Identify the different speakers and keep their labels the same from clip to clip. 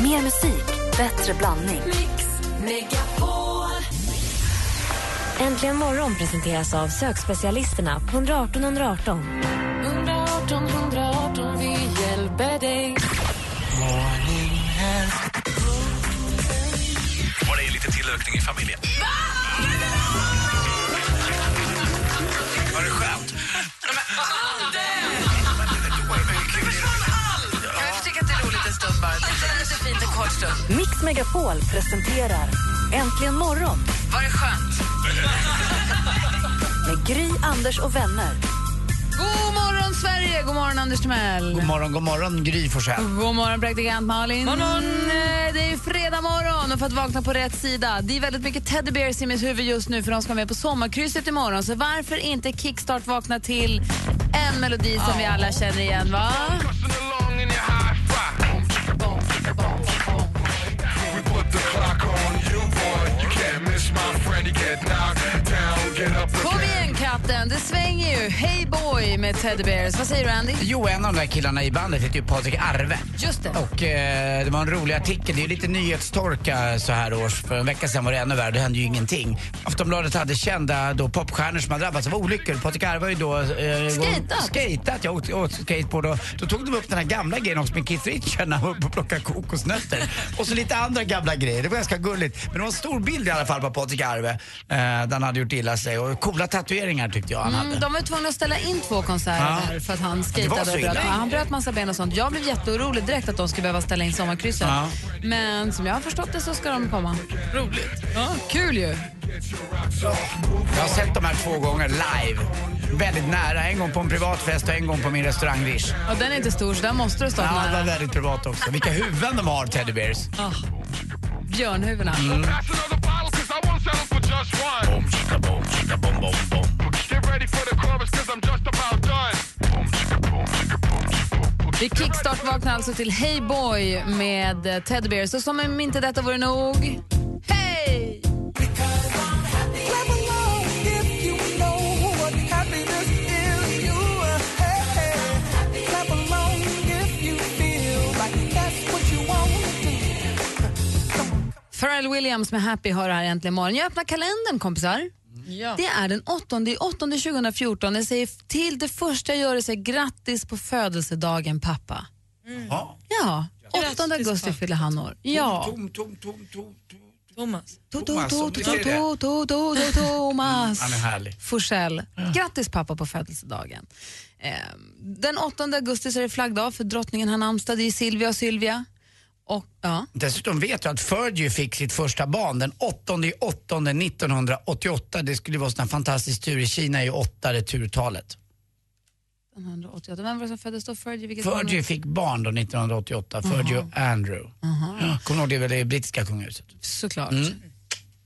Speaker 1: Mer musik, bättre blandning.
Speaker 2: Mix Megapol.
Speaker 3: Äntligen morgon presenteras av sökspecialisterna på 118 118.
Speaker 2: 118 118, vi hjälper dig.
Speaker 4: Var det lite tillökning i familjen? Var det skönt?
Speaker 5: Kan vi få tycka att det är roligt en stund bara? Det är lite fint en kort stund.
Speaker 1: Mix Megapol presenterar Äntligen morgon
Speaker 5: Var det skönt?
Speaker 1: med Gry, Anders och vänner.
Speaker 5: God morgon, Sverige! God morgon, Anders Timell!
Speaker 6: God morgon, god morgon Gry Forssell.
Speaker 5: God morgon, praktikant Malin. Eh, Det är ju fredag morgon och för att vakna på rätt sida. Det är väldigt mycket teddybears i mitt huvud just nu för de ska med på sommarkrysset imorgon. Så varför inte kickstart vakna till en melodi som vi alla känner igen, va? Kom igen, katten! Det svänger ju. Hey boy med teddybears. Vad säger du, Andy?
Speaker 6: Jo, en av de där killarna i bandet heter ju Patrik Arve.
Speaker 5: Just det.
Speaker 6: Och eh, det var en rolig artikel. Det är ju lite nyhetstorka så här års. För en vecka sedan var det ännu värre. Det hände ju ingenting. Aftonbladet hade kända då, popstjärnor som hade drabbats av olyckor. Patrik Arve har ju då... Eh,
Speaker 5: Skejtat.
Speaker 6: Skejtat, ja. Åkt, åkt skateboard. Och, då tog de upp den här gamla grejen också med Keith Richards när han var uppe och plockade kokosnötter. och så lite andra gamla grejer. Det var ganska gulligt. Men det var en stor bild i alla fall på Patrik Arve. Eh, där han hade gjort illa sig. Och coola tatueringar tyckte jag han hade.
Speaker 5: Mm, de var tvungna att ställa in två konserter
Speaker 6: Ja.
Speaker 5: där för att han
Speaker 6: Det var
Speaker 5: skejtade
Speaker 6: så
Speaker 5: och bröt,
Speaker 6: illa?
Speaker 5: ja, han bröt massa ben och sånt. Jag blev jätteorolig direkt att de skulle behöva ställa in sommarkrysset.
Speaker 6: Ja.
Speaker 5: Men som jag har förstått det så ska de komma. Roligt. Ja, kul ju.
Speaker 6: Jag har sett de här två gånger live. Väldigt nära. En gång på en privat fest och en gång på min restaurang Rish.
Speaker 5: Och den är inte stor så där måste du stå
Speaker 6: Ja, det var
Speaker 5: nära.
Speaker 6: väldigt privat också. Vilka huvuden de har, Teddy Bears.
Speaker 5: Ah, björnhuvudena.
Speaker 6: Mm.
Speaker 4: Boom, chicka, boom, chicka, boom, boom, boom.
Speaker 5: Vi kickstart-vaknar alltså till Hey Boy med eh, Ted Bears. Och som om inte detta vore nog... Hej! Pharrell Williams med Happy har det här äntligen imorgon. Jag öppnar kalendern, kompisar. Det är den 8 i 8 2014. Jag säger f- till det första jag gör är att säga grattis på födelsedagen, pappa.
Speaker 6: Ja.
Speaker 5: Ja, 8 augusti fyller han år. Ja.
Speaker 6: Tom, tom, tom, tom, tom.
Speaker 7: Thomas.
Speaker 5: To- to-
Speaker 6: Thomas,
Speaker 5: to-
Speaker 6: om
Speaker 5: to-
Speaker 6: du
Speaker 5: to-
Speaker 6: ser det.
Speaker 5: to- to- to- to- Thomas
Speaker 6: Han är härlig.
Speaker 5: Forsell. Grattis pappa på födelsedagen. Eh, Den 8 augusti så är det flaggdag för drottningen har namnsdag. Det är Silvia och Sylvia. Och, ja.
Speaker 6: Dessutom vet jag att Fergie fick sitt första barn den 8 i 8 1988. Det skulle vara en sån här fantastisk tur. I Kina är ju åtta det turtalet.
Speaker 5: 1988. Vem var det som föddes då? Fergie? Vilket
Speaker 6: Fergie fick barn då 1988. Fergie och Andrew. Ja, Kommer du ihåg det? är väl det brittiska kungahuset?
Speaker 5: Såklart.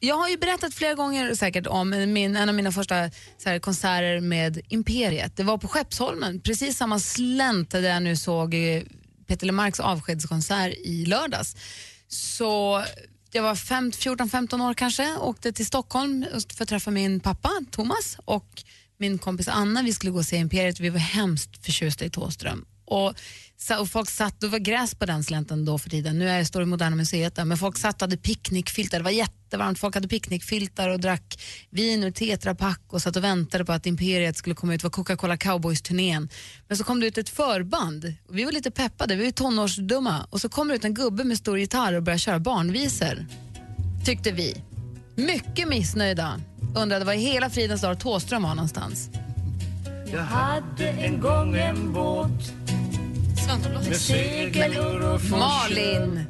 Speaker 5: Jag har ju berättat flera gånger säkert om min, en av mina första så här, konserter med Imperiet. Det var på Skeppsholmen, precis samma slänt där jag nu såg eh, Peter Lemarks avskedskonsert i lördags. Så jag var 14-15 år kanske, åkte till Stockholm för att träffa min pappa Thomas och min kompis Anna. Vi skulle gå och se Imperiet vi var hemskt förtjusta i Thåström. Och, sa- och folk satt, det var gräs på den slänten då för tiden, nu är jag står i Moderna Museet där, men folk satt och hade picknickfiltar, det var jättevarmt, folk hade picknickfiltar och drack vin ur tetrapack och satt och väntade på att Imperiet skulle komma ut, det var Coca-Cola Cowboys-turnén. Men så kom det ut ett förband, vi var lite peppade, vi var ju tonårsdumma, och så kom det ut en gubbe med stor gitarr och började köra barnvisor tyckte vi. Mycket missnöjda. Undrade var i hela fridens dag Thåström var någonstans. Malin!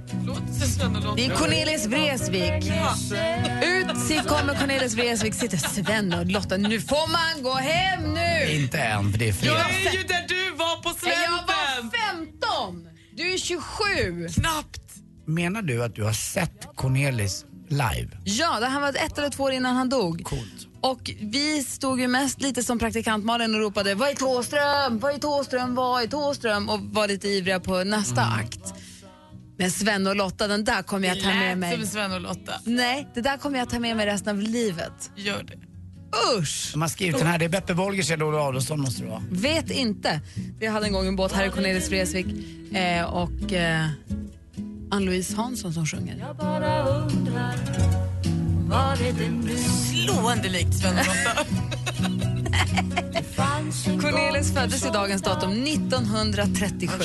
Speaker 5: Det är Cornelis Vreeswijk. Ut kommer Cornelis Vreeswijk, sitter Sven och Lotta. Nu får man gå hem nu!
Speaker 6: Inte än, för det är
Speaker 7: Jag
Speaker 6: fredag.
Speaker 7: är ju där du var på
Speaker 5: Jag
Speaker 7: slänten!
Speaker 5: var 15! Du är 27!
Speaker 7: Knappt!
Speaker 6: Menar du att du har sett Cornelis live?
Speaker 5: Ja, det här var ett eller två år innan han dog.
Speaker 6: Coolt.
Speaker 5: Och vi stod ju mest lite som praktikant Malin och ropade Vad är Thåström? Vad är Thåström? Vad är Thåström? Och var lite ivriga på nästa akt. Men Sven och Lotta, den där kommer jag ta med
Speaker 7: Lät
Speaker 5: mig.
Speaker 7: som Sven och Lotta.
Speaker 5: Nej, det där kommer jag ta med mig resten av livet.
Speaker 7: Gör det.
Speaker 5: Usch!
Speaker 6: De har skrivit den här. Det är Beppe Wolgers eller Olle Adolphson måste det vara.
Speaker 5: Vet inte. Vi hade en gång en båt här i Cornelis Vreeswijk eh, och eh, Ann-Louise Hansson som sjunger.
Speaker 7: Slående likt Sven
Speaker 5: Cornelis föddes i dagens datum 1937.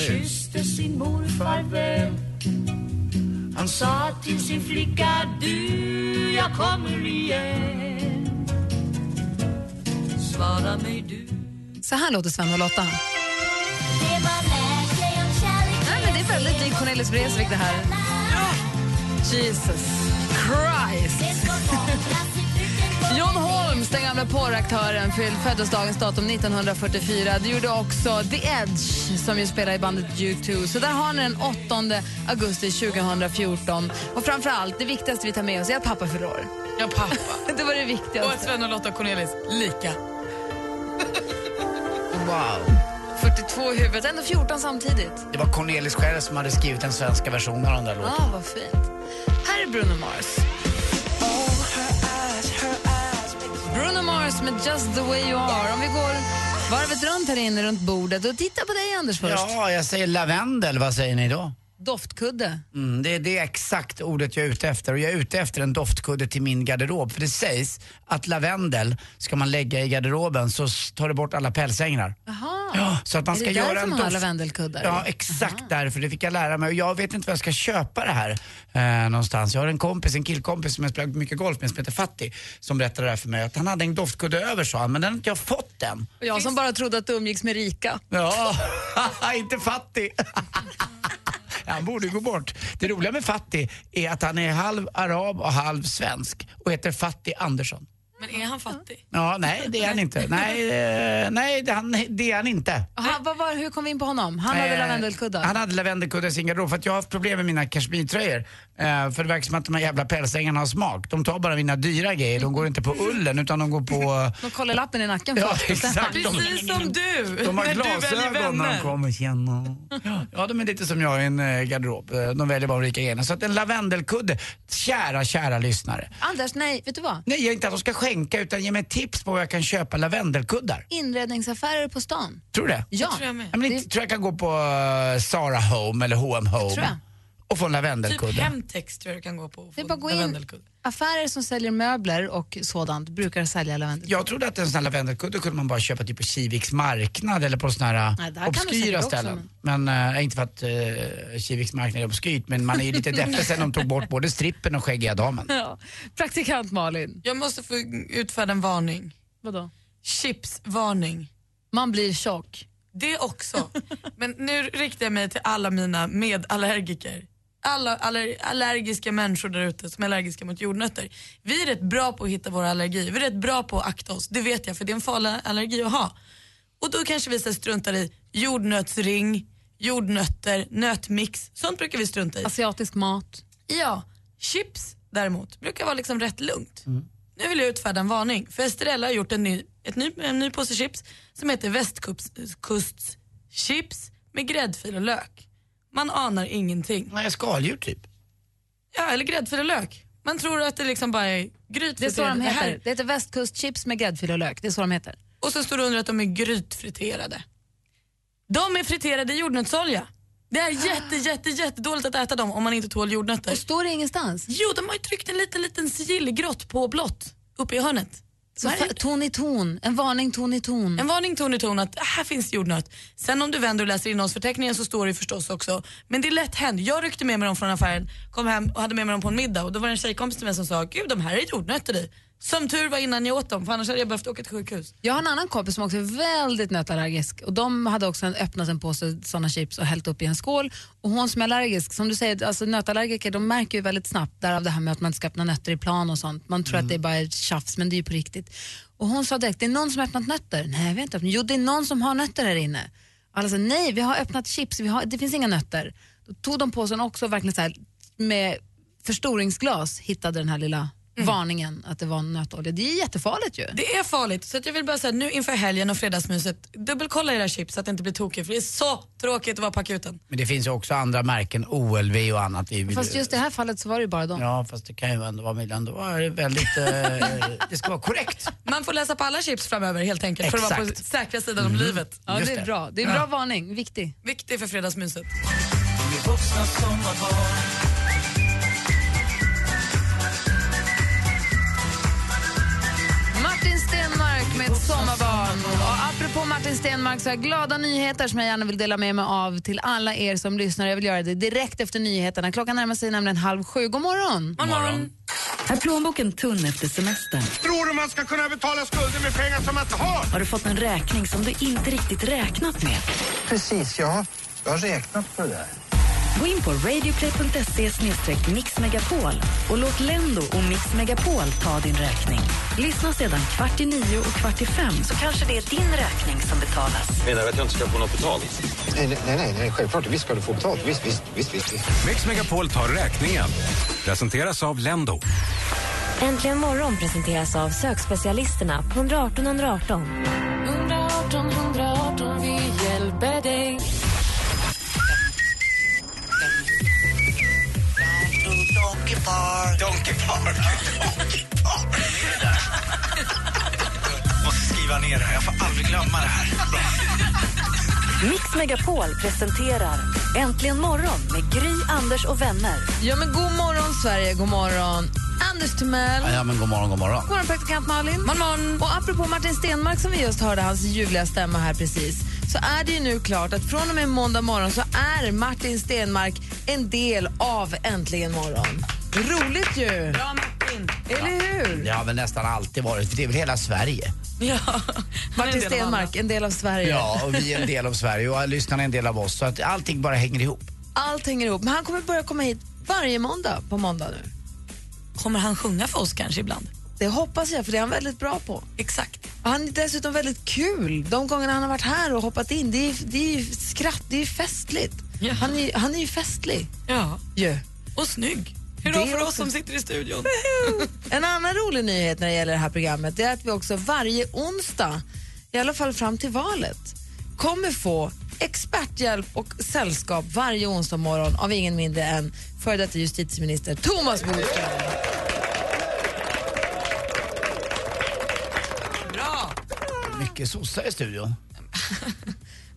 Speaker 5: Så här låter Sven och Lotta. Nej, men det är väldigt likt Cornelis Vreeswijk det här. Jesus Christ! John Holmes, den gamla porraktören, fyll- föddes dagens datum 1944. Det gjorde också The Edge, som ju spelar i bandet U2. Så där har ni den 8 augusti 2014. Och framför allt, det viktigaste vi tar med oss är att pappa fyller år.
Speaker 7: Ja, pappa.
Speaker 5: Det var det
Speaker 7: Och att
Speaker 5: viktigaste.
Speaker 7: Sven och Lotta Cornelis lika.
Speaker 5: 42 i huvudet, ändå 14 samtidigt.
Speaker 6: Det var Cornelis själv som hade skrivit den svenska versionen av den där låten.
Speaker 5: Ja, Ah, vad fint. Här är Bruno Mars. Bruno Mars med Just the way you are. Om vi går varvet runt här inne runt bordet och tittar på dig Anders först.
Speaker 6: Ja, jag säger lavendel. Vad säger ni då?
Speaker 5: Doftkudde.
Speaker 6: Mm, det, det är exakt ordet jag är ute efter och jag är ute efter en doftkudde till min garderob. För det sägs att lavendel ska man lägga i garderoben så s- tar det bort alla pälsängar.
Speaker 5: Jaha.
Speaker 6: Ja, så att man
Speaker 5: Är
Speaker 6: ska
Speaker 5: det
Speaker 6: göra
Speaker 5: därför
Speaker 6: en
Speaker 5: man har
Speaker 6: doft-
Speaker 5: lavendelkuddar?
Speaker 6: Ja, exakt därför. Det fick jag lära mig. Och jag vet inte var jag ska köpa det här eh, någonstans. Jag har en kompis, en killkompis som jag spelar mycket golf med som heter Fatty som berättade det här för mig. Att han hade en doftkudde över sa han, men den har inte jag fått än.
Speaker 5: Och jag som bara trodde att du umgicks med rika.
Speaker 6: Ja, inte fattig. Han borde gå bort. Det roliga med Fattig är att han är halv arab och halv svensk och heter Fattig Andersson.
Speaker 7: Men är han fattig?
Speaker 6: Ja, nej, det är han inte. Nej, eh, nej det, han, det är han inte.
Speaker 5: Aha, vad var, hur kom vi in på honom? Han hade
Speaker 6: Eh,
Speaker 5: lavendelkuddar.
Speaker 6: Han hade lavendelkuddar i sin garderob för att jag har haft problem med mina kashmirtröjor. Eh, för det verkar som att de här jävla pälsängarna har smak. De tar bara mina dyra grejer. De går inte på ullen utan de går på...
Speaker 5: De kollar lappen i nacken
Speaker 6: Ja,
Speaker 5: först. och sen-
Speaker 6: exakt. De,
Speaker 7: Precis som du,
Speaker 6: de har
Speaker 7: när du väljer
Speaker 6: glasögon när de
Speaker 7: vänner.
Speaker 6: kommer. Tjena. Ja, de är lite som jag i en eh, garderob. Eh, De väljer bara de rika grejerna. Så att en lavendelkudde, kära, kära lyssnare.
Speaker 5: Anders, nej, vet du vad?
Speaker 6: Nej, jag är inte att de ska skänka utan ge mig tips på var jag kan köpa lavendelkuddar.
Speaker 5: Inredningsaffärer på stan.
Speaker 6: Tror du det?
Speaker 5: Ja,
Speaker 7: tror jag med.
Speaker 6: Ja, Men inte, tror jag kan gå på eh, Zara Home eller H&M Home
Speaker 5: Tror jag.
Speaker 6: och få en
Speaker 7: Typ
Speaker 6: lavendelkudde.
Speaker 7: Hemtex tror jag du kan gå på. och
Speaker 5: det
Speaker 7: få
Speaker 5: är bara att gå
Speaker 7: en
Speaker 5: in.
Speaker 7: lavendelkudde.
Speaker 5: Affärer som säljer möbler och sådant brukar sälja lavendelkuddar.
Speaker 6: jag trodde att en sån här lavendelkudde kunde man bara köpa typ på Kiviks marknad eller på såna här eh,
Speaker 5: Nej, där kan du säkert
Speaker 6: obskyra
Speaker 5: också,
Speaker 6: ställen. men eh, inte för att eh, Kiviks marknad är obskyrt men man är ju lite deppig sen de tog bort både strippen och skäggiga damen.
Speaker 5: Ja. Praktikant Malin.
Speaker 7: Jag måste få utfärda en varning.
Speaker 5: Vadå?
Speaker 7: Chipsvarning.
Speaker 5: Man blir tjock.
Speaker 7: Det också. Men nu riktar jag mig till alla mina medallergiker. Alla aller, allergiska människor där ute som är allergiska mot jordnötter. Vi är rätt bra på att hitta våra allergier. Vi är rätt bra på att akta oss. Det vet jag, för det är en farlig allergi att ha. Och då kanske vi så här struntar i jordnötsring, jordnötter, nötmix. Sånt brukar vi strunta i.
Speaker 5: Asiatisk mat.
Speaker 7: Ja, chips däremot brukar vara liksom rätt lugnt. Nu vill jag utfärda en varning, för Estrella har gjort en ny, ett ny, en ny påse chips som heter västkusts chips med gräddfil och lök. Man anar ingenting.
Speaker 6: Nej, skaldjur typ.
Speaker 7: Ja, eller gräddfil och lök. Man tror att det liksom bara är
Speaker 5: Det är så
Speaker 7: grytfriterade.
Speaker 5: de
Speaker 7: här.
Speaker 5: heter. Det heter västkustchips med gräddfil och lök. Det är så de heter.
Speaker 7: Och så står det under att de är grytfriterade. De är friterade i jordnötsolja. Det är jätte, jätte, jättedåligt att äta dem om man inte tål jordnötter.
Speaker 5: Och står det ingenstans?
Speaker 7: Jo, de har ju tryckt en liten, liten sigillgrått på blått uppe i hörnet.
Speaker 5: Så
Speaker 7: Vad är
Speaker 5: fa-
Speaker 7: det?
Speaker 5: ton i ton. En varning ton i ton.
Speaker 7: En varning ton i ton att äh, här finns jordnöt. Sen om du vänder och läser innehållsförteckningen så står det ju förstås också. Men det är lätt hänt. Jag ryckte med mig dem från affären, kom hem och hade med mig dem på en middag och då var det en tjejkompis till mig som sa gud de här är jordnötter i. Som tur var innan jag åt dem för annars hade jag behövt åka till sjukhus.
Speaker 5: Jag har en annan kompis som också är väldigt nötallergisk och de hade också en, öppnat en påse sådana chips och hällt upp i en skål. Och hon som är allergisk, som du säger, alltså nötallergiker de märker ju väldigt snabbt, därav det här med att man inte ska öppna nötter i plan och sånt. Man tror att det är bara ett tjafs men det är ju på riktigt. Och hon sa direkt, det är någon som har öppnat nötter. Nej jag vet inte, jo det är någon som har nötter här inne. Alla sa, nej vi har öppnat chips, vi har, det finns inga nötter. Då tog de påsen också och verkligen så här, med förstoringsglas hittade den här lilla varningen att det var nötolja. Det är jättefarligt ju.
Speaker 7: Det är farligt så att jag vill bara säga nu inför helgen och fredagsmyset dubbelkolla era chips så att det inte blir tokigt för det är så tråkigt att vara på akuten.
Speaker 6: Men det finns ju också andra märken, OLV och annat. I,
Speaker 5: Fast just i det här fallet så var det ju bara de.
Speaker 6: Ja, fast det kan ju ändå vara men ändå vara väldigt... Eh, det ska vara korrekt.
Speaker 7: Man får läsa på alla chips framöver helt enkelt för att vara på
Speaker 6: Exakt. Mm.
Speaker 7: säkra sidan om livet.
Speaker 5: Ja,
Speaker 6: Just
Speaker 5: det är
Speaker 6: det.
Speaker 5: bra. Det är en bra varning. Viktig.
Speaker 7: Viktigt för fredagsmyset.
Speaker 8: Vi vuxna som var barn
Speaker 5: på Martin Stenmark så här glada nyheter som jag gärna vill dela med mig av till alla er som lyssnar. Jag vill göra det direkt efter nyheterna. Klockan närmar sig nämligen halv sju. God morgon!
Speaker 7: Morgon.
Speaker 1: Är plånboken tunn efter semestern?
Speaker 8: Tror du man ska kunna betala skulder med pengar som man inte har?
Speaker 1: Har du fått en räkning som du inte riktigt räknat med?
Speaker 9: Precis, ja. Jag har räknat på det där.
Speaker 1: Gå in på radioplay.se mixmegapol och låt Lendo och Mix Megapol ta din räkning. Lyssna sedan kvart i nio och kvart i fem så kanske det är din räkning som betalas.
Speaker 10: Menar du att jag inte ska få något betalt?
Speaker 9: Nej, nej, nej, nej självklart. Visst ska du få betalt. Visst, visst, visst. visst.
Speaker 10: Mix Megapol tar räkningen. Presenteras av Lendo.
Speaker 3: Äntligen morgon presenteras av sökspecialisterna på 118 118.
Speaker 2: 118 118, vi hjälper dig.
Speaker 4: Donkey Park. Donkey Park. Är det där? Måste skriva ner det här. Jag får aldrig glömma det här. Bra.
Speaker 1: Mix Megapol presenterar Äntligen morgon med Gry, Anders och vänner.
Speaker 5: Ja, men god morgon, Sverige. God morgon, Anders Timell.
Speaker 6: Ja, men god morgon, god morgon.
Speaker 5: God morgon, praktikant Malin. Och apropå Martin Stenmark som vi just hörde hans ljuvliga stämma här precis så är det ju nu klart att från och med måndag morgon så är Martin Stenmark en del av Äntligen morgon. Roligt ju!
Speaker 7: Bra Martin.
Speaker 5: Eller hur?
Speaker 6: Det har väl nästan alltid varit, för det är väl hela Sverige.
Speaker 7: Ja. Han
Speaker 5: Martin
Speaker 7: är en del av alla.
Speaker 5: Stenmark, en del av Sverige.
Speaker 6: Ja, och vi är en del av Sverige och lyssnarna är en del av oss. Så att allting bara hänger ihop.
Speaker 5: Allt hänger ihop. Men han kommer börja komma hit varje måndag på måndag nu.
Speaker 7: Kommer han sjunga för oss kanske ibland?
Speaker 5: Det hoppas jag, för det är han väldigt bra på.
Speaker 7: Exakt.
Speaker 5: Och han är dessutom väldigt kul. De gångerna han har varit här och hoppat in, det är, det är ju skratt, det är ju festligt.
Speaker 7: Ja.
Speaker 5: Han, är, han är ju festlig
Speaker 7: Ja.
Speaker 5: ju.
Speaker 7: Och snygg. Hur
Speaker 5: Det
Speaker 7: då för
Speaker 5: också.
Speaker 7: oss som sitter i studion?
Speaker 5: En annan rolig nyhet när det gäller det här programmet det är att vi också varje onsdag, i alla fall fram till valet, kommer få experthjälp och sällskap varje onsdag morgon av ingen mindre än före detta justitieminister Thomas Bodström.
Speaker 7: Bra.
Speaker 6: Mycket sossar i studion.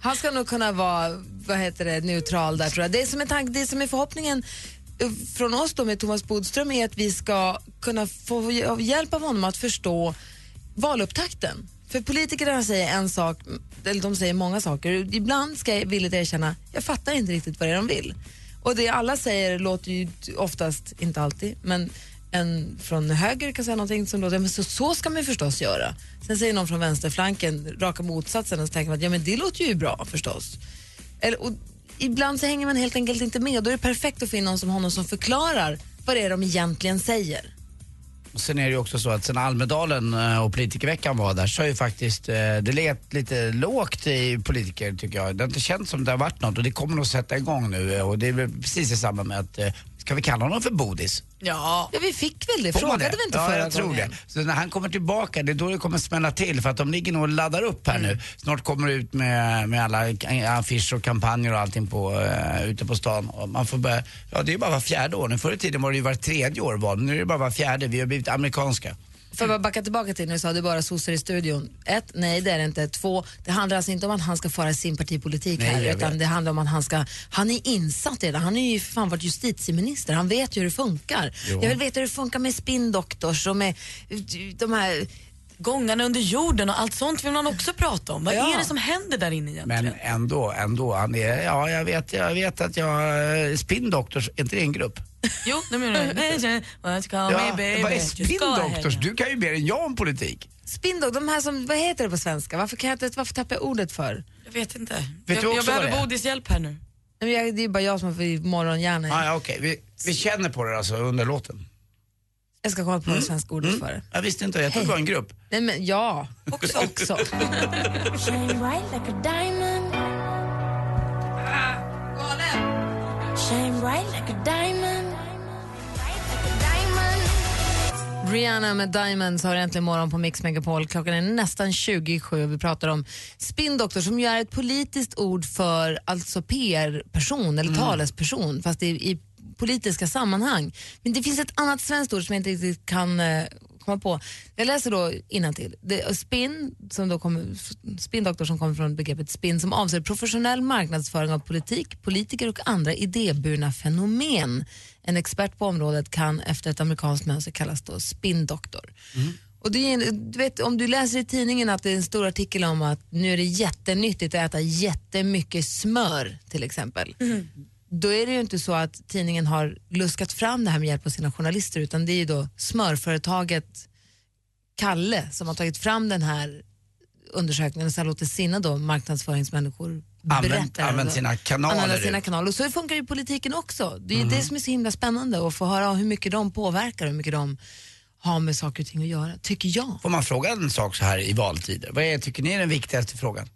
Speaker 5: Han ska nog kunna vara vad heter det, neutral där tror jag. Det som är, tank, det som är förhoppningen eh, från oss då med Thomas Bodström är att vi ska kunna få hj- hjälp av honom att förstå valupptakten. För politikerna säger en sak, eller de säger många saker. Ibland ska jag villigt erkänna, jag fattar inte riktigt vad det är de vill. Och det alla säger låter ju t- oftast, inte alltid, men en från höger kan säga någonting som låter, men så, så ska man ju förstås göra. Sen säger någon från vänsterflanken raka motsatsen och så tänker man att ja men det låter ju bra förstås. Eller, och ibland så hänger man helt enkelt inte med. Då är det perfekt att finna någon som honom som förklarar vad det är de egentligen säger.
Speaker 6: Och Sen är det ju också så att sen Almedalen eh, och politikerveckan var där så har ju faktiskt, eh, det lät lite lågt i politiker tycker jag. Det har inte känts som det har varit något och det kommer nog sätta igång nu eh, och det är väl precis i samband med att, eh, ska vi kalla honom för bodis?
Speaker 7: Ja.
Speaker 5: Ja, vi fick väl det?
Speaker 6: Får man
Speaker 5: Frågade
Speaker 6: det?
Speaker 5: vi inte
Speaker 6: ja,
Speaker 5: förra
Speaker 6: jag tror det.
Speaker 5: gången?
Speaker 6: Så när han kommer tillbaka, det är då det kommer smälla till för att de ligger nog och laddar upp här
Speaker 5: Mm.
Speaker 6: nu. Snart kommer det ut med, med alla k- affischer och kampanjer och allting på, eh, ute på stan. Och man får börja, ja det är ju bara var fjärde år nu. Förr i tiden var det ju var tredje år val, nu är det bara var fjärde. Vi har blivit amerikanska.
Speaker 5: För att bara backa tillbaka till när du sa det är bara sossar i studion. Ett, nej det är det inte. Två, det handlar alltså inte om att han ska föra sin partipolitik
Speaker 6: Nej,
Speaker 5: här
Speaker 6: jag
Speaker 5: utan
Speaker 6: vet.
Speaker 5: det handlar om att han ska, han är insatt i det. Han har ju för fan varit justitieminister, han vet ju hur det funkar. Jag vill veta hur det funkar med spindoktors och med eh, de här
Speaker 7: Gångarna under jorden och allt sånt vill man också prata om. Vad
Speaker 5: Ja.
Speaker 7: är det som händer där inne egentligen?
Speaker 6: Men ändå, ändå. Han är, ja, jag vet, jag vet att jag... eh, Spin Doctors, är inte det en grupp?
Speaker 7: Jo, nu menar jag Let's call
Speaker 6: Ja,
Speaker 7: me baby.
Speaker 6: vad är
Speaker 7: Just
Speaker 6: Spin
Speaker 7: go ahead.
Speaker 6: Doctors? Du kan ju mer än jag om politik.
Speaker 5: Spindog, de här som, vad heter det på svenska? Varför, kan jag inte, varför tappar jag ordet för? Nej,
Speaker 7: Jag vet inte.
Speaker 6: du också
Speaker 7: jag jag
Speaker 6: vad det
Speaker 7: behöver
Speaker 6: är?
Speaker 7: Bodis hjälp här nu.
Speaker 5: men jag, det är bara jag som har morgonhjärna.
Speaker 6: Ah, ja, okej. Vi, vi känner på det alltså under låten.
Speaker 5: Jag ska komma på
Speaker 6: Mm.
Speaker 5: det svenska ordet för det.
Speaker 6: Jag visste inte, jag trodde det var en grupp.
Speaker 5: Nej men ja, också. också. Rihanna med Diamonds har äntligen morgon på Mix Megapol. Klockan är nästan 27 och vi pratar om spindoktor som ju är ett politiskt ord för alltså PR-person eller talesperson fast i, i politiska sammanhang. Men det finns ett annat svenskt ord som jag inte riktigt kan eh, komma på. Jag läser då innantill. Det, spin, som då kommer, spindoktor som kommer från begreppet spin som avser professionell marknadsföring av politik, politiker och andra idéburna fenomen. En expert på området kan efter ett amerikanskt mönster kallas då spindoktor. Och det är, en- du vet, om du läser i tidningen att det är en stor artikel om att nu är det jättenyttigt att äta jättemycket smör till exempel. Då är det ju inte så att tidningen har luskat fram det här med hjälp av sina journalister utan det är ju då smörföretaget Kalle som har tagit fram den här undersökningen och sen låter sina då marknadsföringsmänniskor
Speaker 6: Använd-
Speaker 5: berätta.
Speaker 6: använd sina kanaler. Mhm.
Speaker 5: Använda alltså. sina kanaler. Och så funkar ju politiken också. Det är ju det som är så himla spännande att få höra hur mycket de påverkar och hur mycket de har med saker och ting att göra, tycker jag.
Speaker 6: Får man fråga en sak så här i valtider? Vad är, tycker ni är den viktigaste frågan?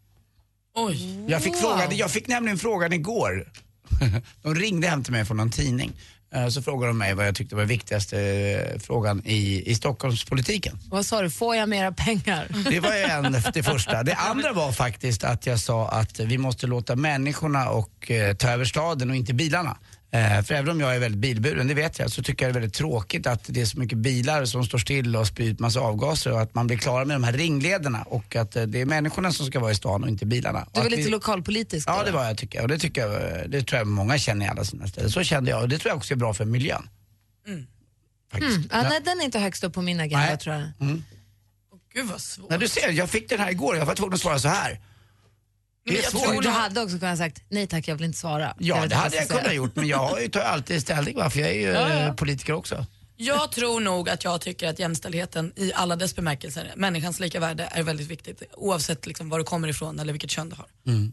Speaker 7: Oj.
Speaker 6: Jag fick, frågan, jag fick nämligen frågan igår. De ringde hem till mig från någon tidning. Eh, Så frågade de mig vad jag tyckte var viktigaste eh, frågan i, i Stockholmspolitiken.
Speaker 5: Vad sa du, får jag mera pengar?
Speaker 7: Mm.
Speaker 6: Det var ju en, det första. Det andra var faktiskt att jag sa att vi måste låta människorna och eh, ta över staden och inte bilarna. Eh, för även om jag är väldigt bilburen, det vet jag, så tycker jag det är väldigt tråkigt att det är så mycket bilar som står still och spyr ut massa avgaser och att man blir klara med de här ringlederna och att eh, det är människorna som ska vara i stan och inte bilarna. Och
Speaker 5: Du var
Speaker 6: att
Speaker 5: lite
Speaker 6: vi-
Speaker 5: lokalpolitisk.
Speaker 6: Ja,
Speaker 5: då.
Speaker 6: det var jag tycker jag. Och det, tycker jag, eh, det tror jag många känner i alla sina städer. Så kände jag och det tror jag också är bra för miljön. Faktiskt.
Speaker 5: Mm. Ja, nej, den är inte högst upp på min agenda
Speaker 6: Nej. Mm.
Speaker 5: tror jag.
Speaker 7: Gud vad svårt.
Speaker 6: Nej, du ser, jag fick den här igår. Jag var tvungen att svara så här. Det är
Speaker 7: Men jag
Speaker 6: svårt.
Speaker 7: tror
Speaker 5: Och du hade också kunnat sagt, nej tack jag vill inte svara. vet
Speaker 6: Ja,
Speaker 5: inte
Speaker 6: det
Speaker 5: vad
Speaker 6: hade jag
Speaker 5: ska
Speaker 6: kunnat
Speaker 5: säga.
Speaker 6: gjort, men jag har ju tar alltid ställning va, för jag är ju eh, politiker också.
Speaker 7: Jag tror nog att jag tycker att jämställdheten i alla dess bemärkelser, människans lika värde, är väldigt viktigt. Oavsett liksom var du kommer ifrån eller vilket kön du har.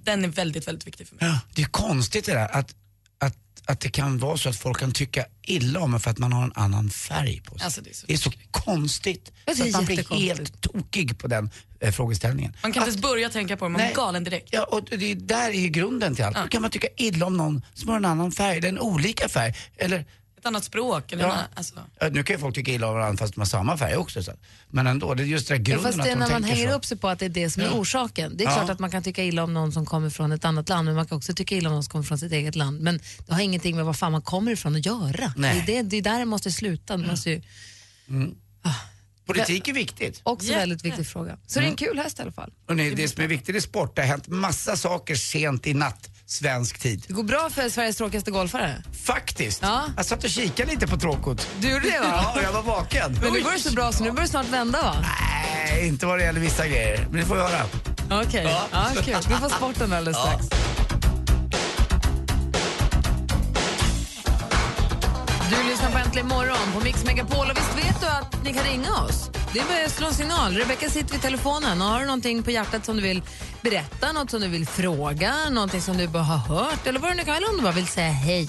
Speaker 7: Den är väldigt, väldigt viktig för mig.
Speaker 6: Det är konstigt det där att, att, att det kan vara så att folk kan tycka illa om en för att man har en annan färg på sig.
Speaker 7: Alltså, det är så
Speaker 6: det är så konstigt.
Speaker 5: Ja, det
Speaker 6: så
Speaker 5: är
Speaker 6: att man blir
Speaker 5: jättekonstigt.
Speaker 6: helt tokig på den eh, frågeställningen.
Speaker 7: Man kan inte ens börja tänka på det, man
Speaker 6: Nej.
Speaker 7: blir galen direkt.
Speaker 6: Ja, och det är, där är ju grunden till allt.
Speaker 7: Ja.
Speaker 6: Hur kan man tycka illa om någon som har en annan färg, eller en olika färg? Eller,
Speaker 7: Ett annat språk eller
Speaker 6: Ja.
Speaker 7: ja. alltså.
Speaker 6: ja, nu kan ju folk tycka illa om varandra fast de har samma färg också. Så. att- Men ändå, det är just det där
Speaker 5: Ja,
Speaker 6: grunden
Speaker 5: fast det
Speaker 6: att
Speaker 5: är
Speaker 6: de
Speaker 5: när man
Speaker 6: tänker
Speaker 5: hänger
Speaker 6: så.
Speaker 5: upp sig på att det är det som är orsaken. Det är
Speaker 6: Ja.
Speaker 5: klart att man kan tycka illa om någon som kommer från ett annat land men man kan också tycka illa om någon som kommer från sitt eget land. Men det har ingenting med var fan man kommer ifrån att göra.
Speaker 6: Nej.
Speaker 5: Det, är det, det är där det måste sluta. Det måste ju,
Speaker 6: Politik är viktigt.
Speaker 5: också väldigt viktig fråga. Så
Speaker 6: Mm.
Speaker 5: det är en kul häst i alla fall.
Speaker 6: Och nej, det som är viktigt i sport, det har hänt massa saker sent i natt, svensk tid.
Speaker 5: Det går bra för Sveriges tråkigaste golfare.
Speaker 6: Faktiskt.
Speaker 5: Ja.
Speaker 6: Jag satt och kikade lite på tråkot.
Speaker 5: Du gjorde det va?
Speaker 6: Ja, och jag var vaken.
Speaker 5: Men nu går det så bra så nu börjar det snart vända va?
Speaker 6: Nej, inte vad det gäller vissa grejer. Men det får vi höra.
Speaker 5: Okej, ja. kul. Vi får sporten alldeles strax. Du lyssnar på Äntligen morgon på Mix Megapol och visst vet du att ni kan ringa oss? Det är bara att slå en signal. Rebecka sitter vid telefonen och har du någonting på hjärtat som du vill berätta, något som du vill fråga, någonting som du bara har hört eller vad det nu kan eller om du bara vill säga hej.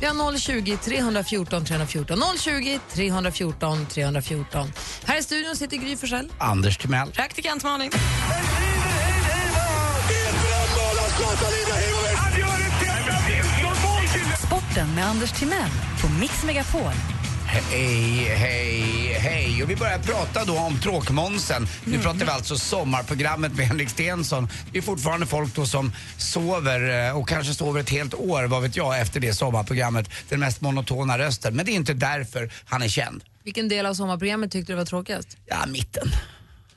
Speaker 5: Vi har 020 314 314, 020 314 314. Här i studion sitter Gry Forssell.
Speaker 6: Anders Timell.
Speaker 7: Praktikant Malin.
Speaker 1: Sporten med Anders Timell på Mix Megapol.
Speaker 6: Hej, hej, hej. Och vi börjar prata då om tråkmånsen. Nu pratar vi alltså sommarprogrammet med Henrik Stenson. Det är fortfarande folk då som sover eh, och kanske sover ett helt år, vad vet jag, efter det sommarprogrammet. Den mest monotona rösten. Men det är inte därför han är känd.
Speaker 5: Vilken del av sommarprogrammet tyckte du var tråkigast?
Speaker 6: Ja, mitten.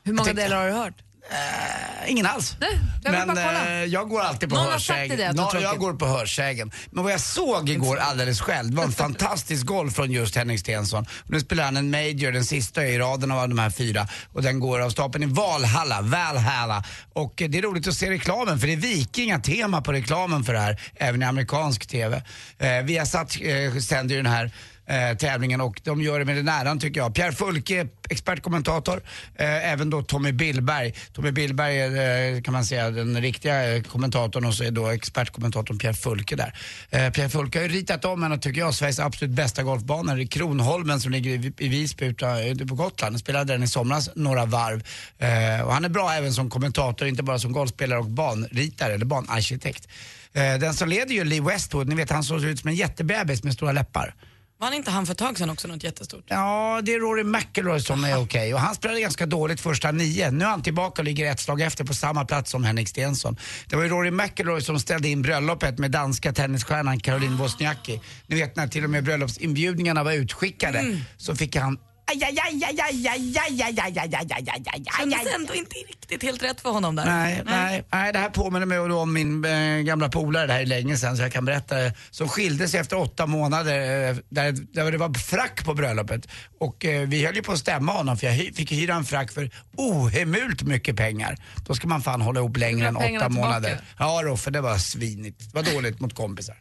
Speaker 5: Hur många
Speaker 6: tänkte-
Speaker 5: delar har du hört?
Speaker 6: Eh, Ingen alls.
Speaker 5: Nej, jag vill
Speaker 6: men
Speaker 5: bara kolla.
Speaker 6: eh, jag går alltid på
Speaker 5: Någon har sagt till dig
Speaker 6: hörsägen.
Speaker 5: att det var
Speaker 6: Nå- jag
Speaker 5: tråkigt.
Speaker 6: går på hörsägen. Men vad jag såg igår alldeles själv var en fantastisk golf från just Henrik Stenson. Nu spelar han en major, den sista i raden av de här fyra. Och den går av stapeln i Valhalla, Valhalla. Och eh, det är roligt att se reklamen för det är vikingatema på reklamen för det här, även i amerikansk TV. Eh, vi har satt, eh, sänder ju den här eh, tävlingen och de gör det med den äran tycker jag. Pierre Fulke, expertkommentator, eh, även då Tommy Billberg. Tommy Billberg är eh, kan man säga den riktiga eh, kommentatorn och så är då expertkommentatorn Pierre Fulke där. Eh, Pierre Fulke har ju ritat om en av, tycker jag, Sveriges absolut bästa golfbanor i Kronholmen som ligger i, i Visby utan- ute på Gotland. Han spelade den i somras några varv eh, och han är bra även som kommentator, inte bara som golfspelare och banritare eller banarkitekt. Eh, Den som leder ju Lee Westwood, ni vet han såg ut som en jättebebis med stora läppar.
Speaker 7: Vann inte han för ett tag sedan också något jättestort?
Speaker 6: Ja, det är Rory McIlroy som är okej. Och han spelade ganska dåligt första nio. Nu är han tillbaka och ligger ett slag efter på samma plats som Henrik Stenson. Det var ju Rory McIlroy som ställde in bröllopet med danska tennisstjärnan Caroline Wozniacki. Ni vet när till och med bröllopsinbjudningarna var utskickade så fick han Aj, aj, aj, aj, aj, aj, aj, aj, aj, aj, aj, aj, aj, aj, aj,
Speaker 7: Kändes
Speaker 6: aj.
Speaker 7: ändå inte riktigt helt rätt för honom där.
Speaker 6: Nej, nej, nej, det här påminner mig då om min eh, gamla polare, det här är länge sedan så jag kan berätta det, som skildes efter åtta månader eh, där, där det var frack på bröllopet. Och eh, vi höll ju på att stämma honom för jag hy- fick hyra en frack för ohemult mycket pengar. Då ska man fan hålla ihop längre än
Speaker 5: ha pengarna
Speaker 6: åtta
Speaker 5: tillbaka.
Speaker 6: månader. Ja då, för det var svinigt. Det var dåligt mot kompisar.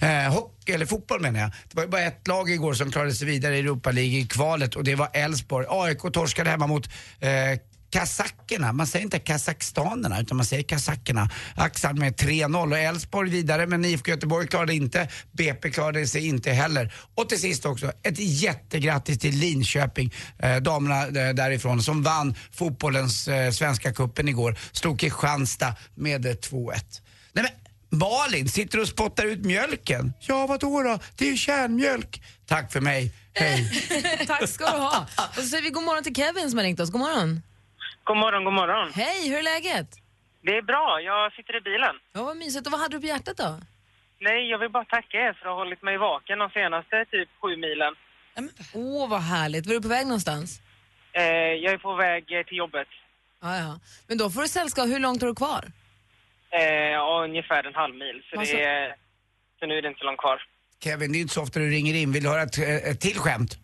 Speaker 6: Eh, hockey, eller fotboll menar jag. Det var ju bara ett lag igår som klarade sig vidare i Europa League i kvalet och det var Elfsborg. AIK torskade hemma mot eh, kazackerna. Man säger inte kazakstanerna utan man säger kazackerna. Axel med 3-0 och Elfsborg vidare men IFK Göteborg klarade inte. BP klarade sig inte heller. Och till sist också ett jättegrattis till Linköping, eh, damerna eh, därifrån som vann fotbollens eh, svenska kuppen igår. Slog Kristianstad med eh, 2-1. Nej, men, Malin sitter och spottar ut mjölken. Ja, vadå då? Det är ju kärnmjölk. Tack för mig. Hej.
Speaker 5: Tack ska du ha. Och så säger vi god morgon till Kevin som har ringt oss. God morgon.
Speaker 11: God morgon, god morgon.
Speaker 5: Hej, hur är läget?
Speaker 11: Det är bra, jag sitter i bilen.
Speaker 5: Ja, vad mysigt. Och vad hade du på hjärtat då?
Speaker 11: Nej, jag vill bara tacka er för att ha hållit mig vaken de senaste typ sju milen.
Speaker 5: Åh, vad härligt. Var du på väg någonstans?
Speaker 11: Eh, jag är på väg eh, till jobbet.
Speaker 5: Ja, ja. Men då får du sällskap. Hur långt har du kvar?
Speaker 11: Eh, ja, ungefär en halv mil, så,
Speaker 5: Alltså-
Speaker 11: det är, så nu är det inte så långt kvar.
Speaker 6: Kevin, det är inte så ofta du ringer in. Vill du höra ett, eh, ett till skämt?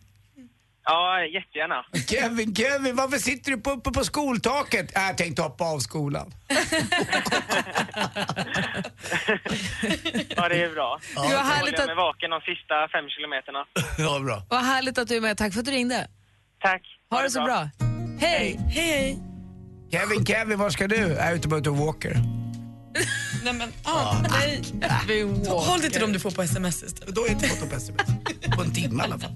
Speaker 11: Ja, jättegärna.
Speaker 6: Kevin, Kevin, varför sitter du på, uppe på skoltaket? Äh, jag tänkte hoppa av skolan.
Speaker 11: Ja, det är bra. Så
Speaker 6: Ja,
Speaker 5: tack.
Speaker 11: håller
Speaker 5: Härligt
Speaker 11: jag
Speaker 5: att-
Speaker 11: mig vaken de sista fem kilometerna.
Speaker 6: Ja, bra.
Speaker 5: Vad härligt att du är med. Tack för att du ringde.
Speaker 11: Tack.
Speaker 5: Ha, det så bra. Hej!
Speaker 7: Hej, hej.
Speaker 6: Kevin, Kevin, var ska du? Jag är ute på ute och walker.
Speaker 7: Nej men, ah, nej. Håll dig till dem du får på sms istället.
Speaker 6: Då är jag inte fått upp sms. På en timme i alla fall.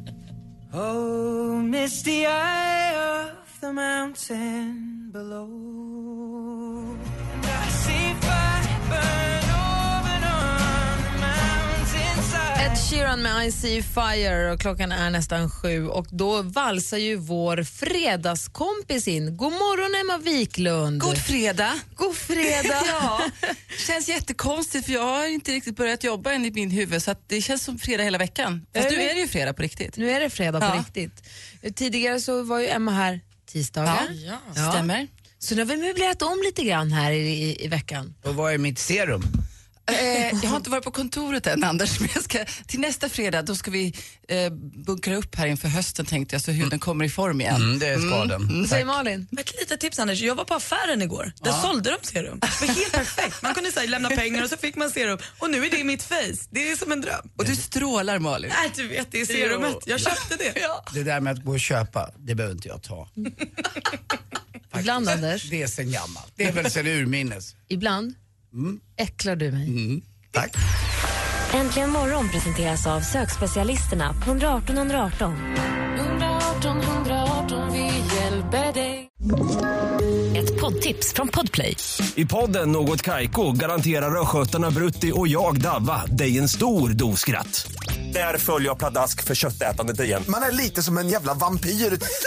Speaker 5: Ed Sheeran med I see fire och klockan är nästan sju och då valsar ju vår fredagskompis in. God morgon Emma Wiklund.
Speaker 12: God fredag.
Speaker 5: God fredag.
Speaker 12: ja, känns jättekonstigt för jag har inte riktigt börjat jobba än i min huvud så att det känns som fredag hela veckan. Fast
Speaker 5: Är
Speaker 12: nu
Speaker 5: det?
Speaker 12: är det ju fredag på riktigt.
Speaker 5: Nu är det fredag på
Speaker 12: Ja.
Speaker 5: riktigt. Tidigare så var ju Emma här tisdagar.
Speaker 12: Ja, stämmer.
Speaker 5: Så nu har vi möblerat om lite grann här i, i, i veckan.
Speaker 6: Och vad är mitt serum?
Speaker 12: Eh, jag har inte varit på kontoret än Anders, men jag ska, till nästa fredag då ska vi eh, bunkra upp här inför hösten tänkte jag så huden kommer i form igen.
Speaker 6: Mm, det ska den.
Speaker 5: Säger Malin.
Speaker 7: Men ett litet tips Anders, jag var på affären igår. Där sålde de serum. Ah. Det var helt perfekt. Man kunde så här, lämna pengar och så fick man serum. Och nu är det i mitt face. Det är som en dröm.
Speaker 12: Och du strålar Malin.
Speaker 7: Nej du vet, det är serumet. Jag köpte det.
Speaker 6: Det där med att gå och köpa, det behöver inte jag ta.
Speaker 5: Ibland Anders,
Speaker 6: Det är sen gammalt. Det är väl sen urminnes.
Speaker 5: ibland
Speaker 12: Mm.
Speaker 5: äcklar du mig.
Speaker 6: Tack.
Speaker 3: Äntligen morgon presenteras av sökspecialisterna på 118 118.
Speaker 2: 118 118 vi hjälper dig.
Speaker 1: Ett poddtips från Podplay.
Speaker 13: I podden Något Kaiko garanterar östgötarna Brutti och jag, Davva, dig en stor dos skratt. Där följer jag pladask för köttätandet igen.
Speaker 14: Man är lite som en jävla vampyr.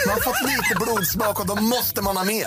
Speaker 14: Man har fått lite blodsmak och då måste man ha mer.